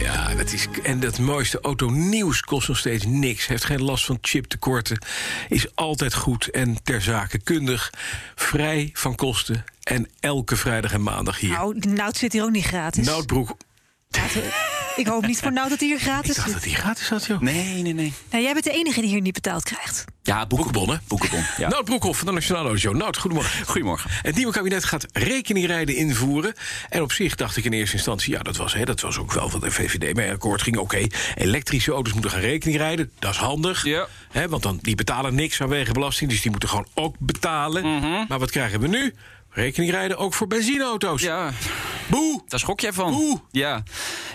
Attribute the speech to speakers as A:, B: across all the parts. A: Ja, dat is, en dat mooiste autonieuws kost nog steeds niks. Heeft geen last van chiptekorten. Is altijd goed en ter zake kundig. Vrij van kosten. En elke vrijdag en maandag hier.
B: Nou, Nout zit hier ook niet gratis.
A: Noudbroek.
B: Ik hoop niet voor Nout dat hij hier
A: Ik
B: gratis
A: dacht
B: zit.
A: dat die gratis had, joh.
C: Nee, nee, nee.
B: Nou, jij bent de enige die hier niet betaald krijgt.
C: Ja,
A: Boekenbon, hè?
C: Boekenbon. Ja.
A: Nout Broekhoff van de Nationale Auto Show. Nout, goedemorgen.
C: Goedemorgen.
A: Het nieuwe kabinet gaat rekeningrijden invoeren. En op zich dacht ik in eerste instantie... ja, dat was, hè, dat was ook wel wat de VVD mee akkoord ging. Oké, elektrische auto's moeten gaan rekeningrijden. Dat is handig.
C: Ja.
A: Hè, want dan, die betalen niks aan wegenbelasting. Dus die moeten gewoon ook betalen.
C: Mhm.
A: Maar wat krijgen we nu? Rekeningrijden ook voor benzineauto's.
C: Ja,
A: Boe!
C: daar schrok jij van.
A: Oeh.
C: Ja.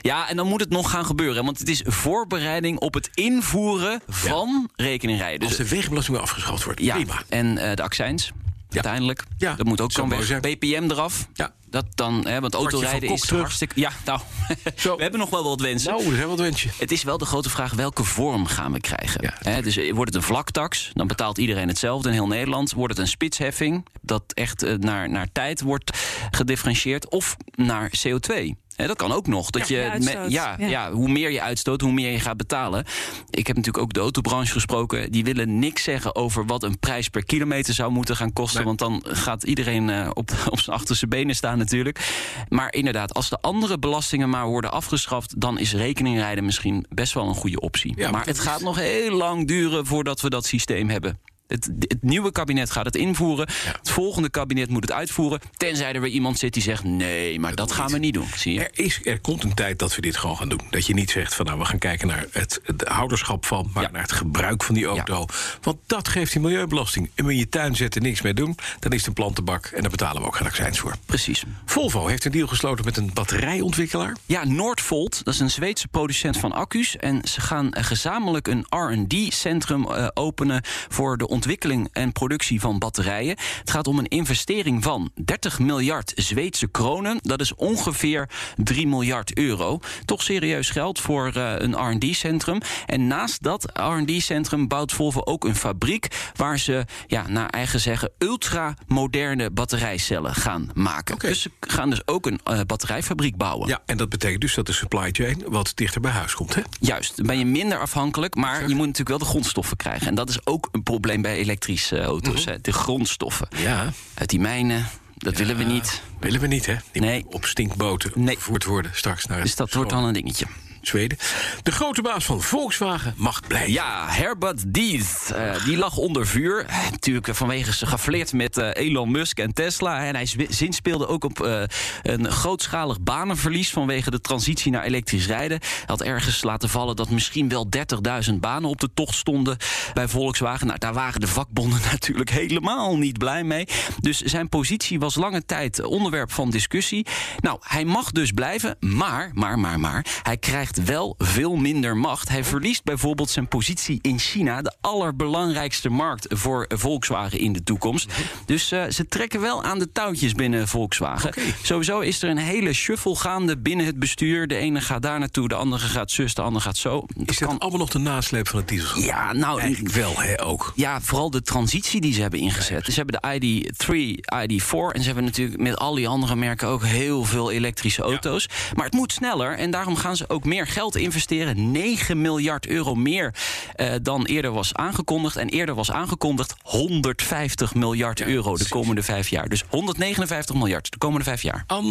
C: ja, en dan moet het nog gaan gebeuren. hè, Want het is voorbereiding op het invoeren van rekeningrijden.
A: Als
C: Dus,
A: de wegenbelasting weer afgeschaft wordt.
C: ja,
A: Prima.
C: en eh, de accijns. Uiteindelijk.
A: Ja,
C: Dat moet ook
A: zou
C: kan
A: mooi
C: weg.
A: zijn.
C: BPM eraf.
A: Ja.
C: Dat dan, hè, want
A: Kwartje van
C: autorijden
A: Kok
C: is
A: terug.
C: hartstikke... Ja, nou,
A: Zo.
C: we hebben nog wel wat wensen.
A: Nou, dat zijn wat wensje.
C: Het is wel de grote vraag, welke vorm gaan we krijgen?
A: Ja.
C: Hè, dus eh, wordt het een vlaktax, dan betaalt iedereen hetzelfde in heel Nederland. Wordt het een spitsheffing, dat echt eh, naar, naar tijd wordt gedifferentieerd. Of naar CO2. Hè, dat kan ook nog. Dat
B: Ja,
C: je
B: je
C: me-
B: uitstoot.
C: ja,
B: Ja.
C: ja. hoe meer je uitstoot, hoe meer je gaat betalen. Ik heb natuurlijk ook de autobranche gesproken. Die willen niks zeggen over wat een prijs per kilometer zou moeten gaan kosten.
A: Nee.
C: Want dan gaat iedereen eh, op, op zijn achterste benen staan natuurlijk. Maar inderdaad, als de andere belastingen maar worden afgeschaft... dan is rekeningrijden misschien best wel een goede optie.
A: Ja,
C: maar
A: want
C: het
A: dat is-
C: gaat nog heel lang duren voordat we dat systeem hebben. Het, het nieuwe kabinet gaat het invoeren. Het volgende kabinet moet het uitvoeren. Tenzij er weer iemand zit die zegt... nee, maar dat, gaan we niet doen. Zie je?
A: Er, is, er komt een tijd dat we dit gewoon gaan doen. Dat je niet zegt van nou, we gaan kijken naar het, het houderschap van, maar
C: Ja.
A: naar het gebruik van die auto. Want dat geeft die milieubelasting. En wil je je tuin zetten en niks mee doen, dan is het een plantenbak en daar betalen we ook geen accijns voor.
C: Precies.
A: Volvo heeft een deal gesloten met een batterijontwikkelaar.
C: Ja, Noordvolt, dat is een Zweedse producent van accu's. En ze gaan eh, gezamenlijk een RD-centrum eh, openen voor de ontwikkeling en productie van batterijen. Het gaat om een investering van 30 miljard Zweedse kronen. Dat is ongeveer 3 miljard euro. Toch serieus geld voor eh, een RD-centrum. En naast dat RD-centrum bouwt Volvo ook een fabriek waar ze, ja, naar eigen zeggen, ultramoderne batterijcellen gaan maken.
A: Oké.
C: Dus ze gaan dus ook een eh, batterijfabriek bouwen.
A: Ja, en dat betekent dus dat de supply chain wat dichter bij huis komt. Hè?
C: Juist, dan ben je minder afhankelijk, maar je moet natuurlijk wel de grondstoffen krijgen. En dat is ook een probleem bij elektrische eh, auto's, hè, de grondstoffen.
A: Ja,
C: Uit die mijnen, dat willen we niet.
A: willen we niet, hè? Die
C: Nee.
A: op stinkboten
C: Nee.
A: vervoerd worden straks naar
C: Dus dat wordt dan een dingetje.
A: Zweden. De grote baas van Volkswagen mag blijven.
C: Ja, Herbert Dies, eh, die lag onder vuur. Eh, Natuurlijk vanwege zijn geflirt met eh, Elon Musk en Tesla. En hij zwi- zinspeelde ook op eh, een grootschalig banenverlies... vanwege de transitie naar elektrisch rijden. Hij had ergens laten vallen dat misschien wel 30.000 banen op de tocht stonden... bij Volkswagen. Nou, daar waren de vakbonden natuurlijk helemaal niet blij mee. Dus zijn positie was lange tijd eh, onderwerp van discussie. Nou, hij mag dus blijven, maar, maar, maar, maar... hij krijgt wel veel minder macht. Hij verliest bijvoorbeeld zijn positie in China... de allerbelangrijkste markt voor Volkswagen in de toekomst. Dus eh, ze trekken wel aan de touwtjes binnen Volkswagen. Sowieso is er een hele shuffle gaande binnen het bestuur. De ene gaat daar naartoe, de andere gaat zus, de andere gaat zo.
A: Is dat allemaal nog de nasleep van het dieselschap?
C: Ja, nou,
A: Eigenlijk wel, hè, ook.
C: ja, vooral de transitie die ze hebben ingezet. Ze hebben de ID3, ID4 en ze hebben natuurlijk met al die andere merken ook heel veel elektrische auto's. Maar het moet sneller en daarom gaan ze ook meer geld investeren. 9 miljard euro meer eh, dan eerder was aangekondigd. En eerder was aangekondigd 150 miljard euro de komende vijf jaar. Dus 159 miljard de komende vijf jaar.
A: An...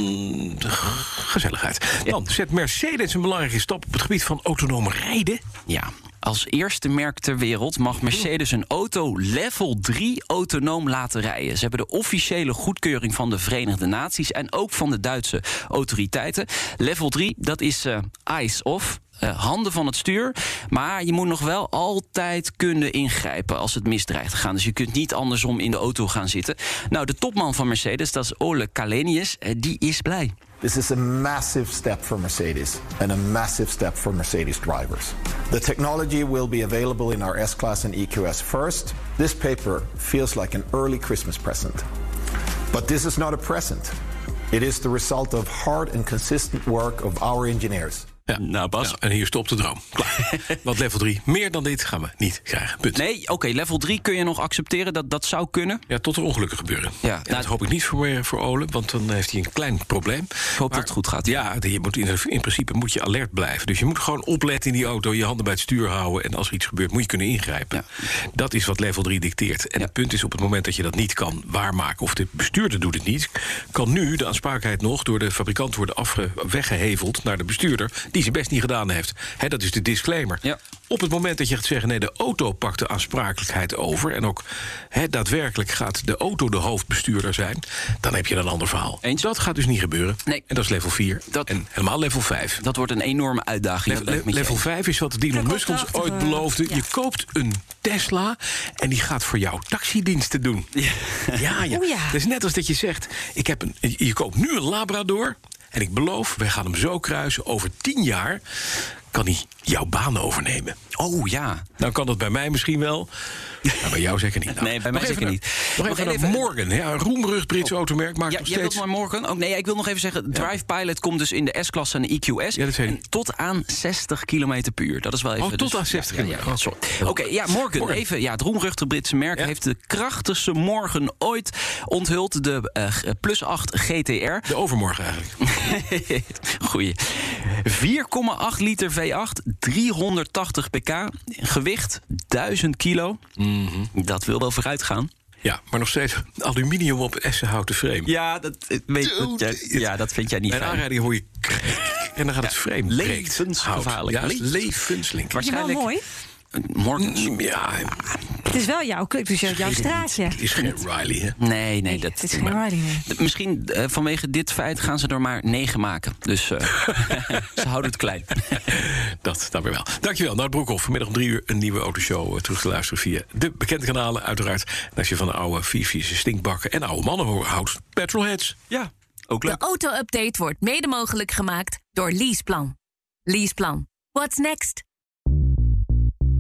A: Gezelligheid. Dan zet Mercedes een belangrijke stap op het gebied van autonoom rijden.
C: Ja. Als eerste merk ter wereld mag Mercedes een auto level 3 autonoom laten rijden. Ze hebben de officiële goedkeuring van de Verenigde Naties en ook van de Duitse autoriteiten. Level 3, dat is eh eyes off. eh, handen van het stuur. Maar je moet nog wel altijd kunnen ingrijpen als het mis dreigt te gaan. Dus je kunt niet andersom in de auto gaan zitten. Nou, de topman van Mercedes, dat is Ole Kalenius, eh, die is blij.
D: This is a massive step for Mercedes and a massive step for Mercedes drivers. The technology will be available in our S Class and EQS first. This paper feels like an early Christmas present. But this is not a present, it is the result of hard and consistent work of our engineers.
C: Nou, Bas.
A: Ja, en hier stopt de droom. Klaar. Want level 3, meer dan dit gaan we niet krijgen. Punt.
C: Nee, oké, level 3 kun je nog accepteren. Dat, dat zou kunnen.
A: Ja, tot er ongelukken gebeuren.
C: Ja,
A: en
C: nou,
A: dat hoop ik niet voor, eh, voor Ole, want dan heeft hij een klein probleem. Ik
C: hoop dat het goed gaat.
A: Ja, je moet in, in principe moet je alert blijven. Dus je moet gewoon opletten in die auto, je handen bij het stuur houden... en als er iets gebeurt, moet je kunnen ingrijpen. Dat is wat level 3 dicteert. En het punt is, op het moment dat je dat niet kan waarmaken... of de bestuurder doet het niet... kan nu de aansprakelijkheid nog door de fabrikant worden afge, weggeheveld... naar de bestuurder, die zijn best niet gedaan heeft. Hè, dat is de disclaimer.
C: Ja.
A: Op het moment dat je gaat zeggen, nee, de auto pakt de aansprakelijkheid over... en ook hè, daadwerkelijk gaat de auto de hoofdbestuurder zijn... dan heb je een ander verhaal.
C: Eens.
A: Dat gaat dus niet gebeuren.
C: Nee.
A: En dat is level 4.
C: Dat-
A: En helemaal level 5.
C: Dat wordt een enorme uitdaging. dat ben ik met je
A: level
C: eens.
A: 5 is wat Elon
B: komt
A: Musk ons
B: erachter,
A: ooit
B: eh,
A: beloofde.
B: ja.
A: Je koopt een Tesla en die gaat voor jou taxidiensten doen. Ja, ja.
B: O ja.
A: Dat is net als dat je zegt, ik heb een, je koopt nu een Labrador... en ik beloof, wij gaan hem zo kruisen. Over 10 jaar kan hij jouw baan overnemen.
C: Oh ja.
A: Dan kan dat bij mij misschien wel. Maar bij jou zeker niet. Nou,
C: Nee, bij
A: nog
C: mij
A: even
C: zeker
A: naar-
C: niet.
A: Nog
C: We
A: even
C: gaan
A: naar
C: even- Oh.
A: Morgan. Ja, een roemrucht Brits automerk maakt
C: Ja,
A: nog
C: jij wilt
A: steeds...
C: maar morgen. Oh, nee, ik wil nog even zeggen. Drive Pilot komt dus in de S-klasse en de EQS.
A: Ja, dat weet ik.
C: En tot aan 60 km per uur. Dat is wel even.
A: Oh, tot
C: dus-
A: aan 60
C: Ja, ja,
A: kilometer.
C: ja,
A: Oh.
C: sorry. Oké, ja, morgen.
A: Morgan.
C: Even. Ja, het roemruchte Britse merk
A: Ja.
C: heeft de krachtigste morgen ooit onthuld. De eh, g- plus 8 GTR.
A: De overmorgen eigenlijk.
C: Goeie. 4,8 liter V8, 380 pk, gewicht 1000 kilo.
A: Mhm.
C: Dat wil wel vooruit gaan.
A: Ja, maar nog steeds aluminium op essenhouten frame.
C: Ja, dat, eh, weet, dat jij- ja, dat vind jij niet
A: Bij een
C: fijn.
A: aanrijding hoor je... krrrk En dan gaat het frame breekt.
C: levensgevaarlijk.
A: Hout. Ja, levenslink.
B: je wel mooi.
C: Morgen.
A: Mm, Ja,
C: Ah,
B: Het is wel jouw, het is jouw straatje.
A: is geen Riley, hè?
C: Nee, nee, dat
B: het is geen riding. nee.
C: D- Misschien eh, vanwege dit feit gaan ze er maar negen maken. Dus eh, ze houden het klein.
A: Dat dan weer wel. Dankjewel, Nout Broekhoff. Vanmiddag om drie uur een nieuwe autoshow eh, terug te luisteren via de bekende kanalen, uiteraard. En als je van de oude vieze stinkbakken en oude mannen ho- houdt, petrolheads.
C: Ja, ook
E: De auto-update wordt mede mogelijk gemaakt door Leaseplan. Leaseplan. What's next?